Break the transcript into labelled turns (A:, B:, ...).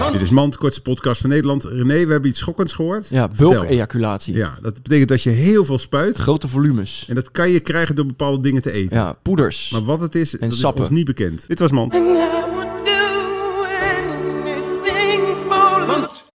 A: Oh.
B: Dit is Mand, kortste podcast van Nederland. René, we hebben iets schokkends gehoord.
A: Ja,
B: Vertel.
A: bulk-ejaculatie.
B: Ja, dat betekent dat je heel veel spuit.
A: Grote volumes.
B: En dat kan je krijgen door bepaalde dingen te eten.
A: Ja, poeders.
B: Maar wat het is, dat is
A: sappen.
B: ons niet bekend. Dit was Mand.
C: now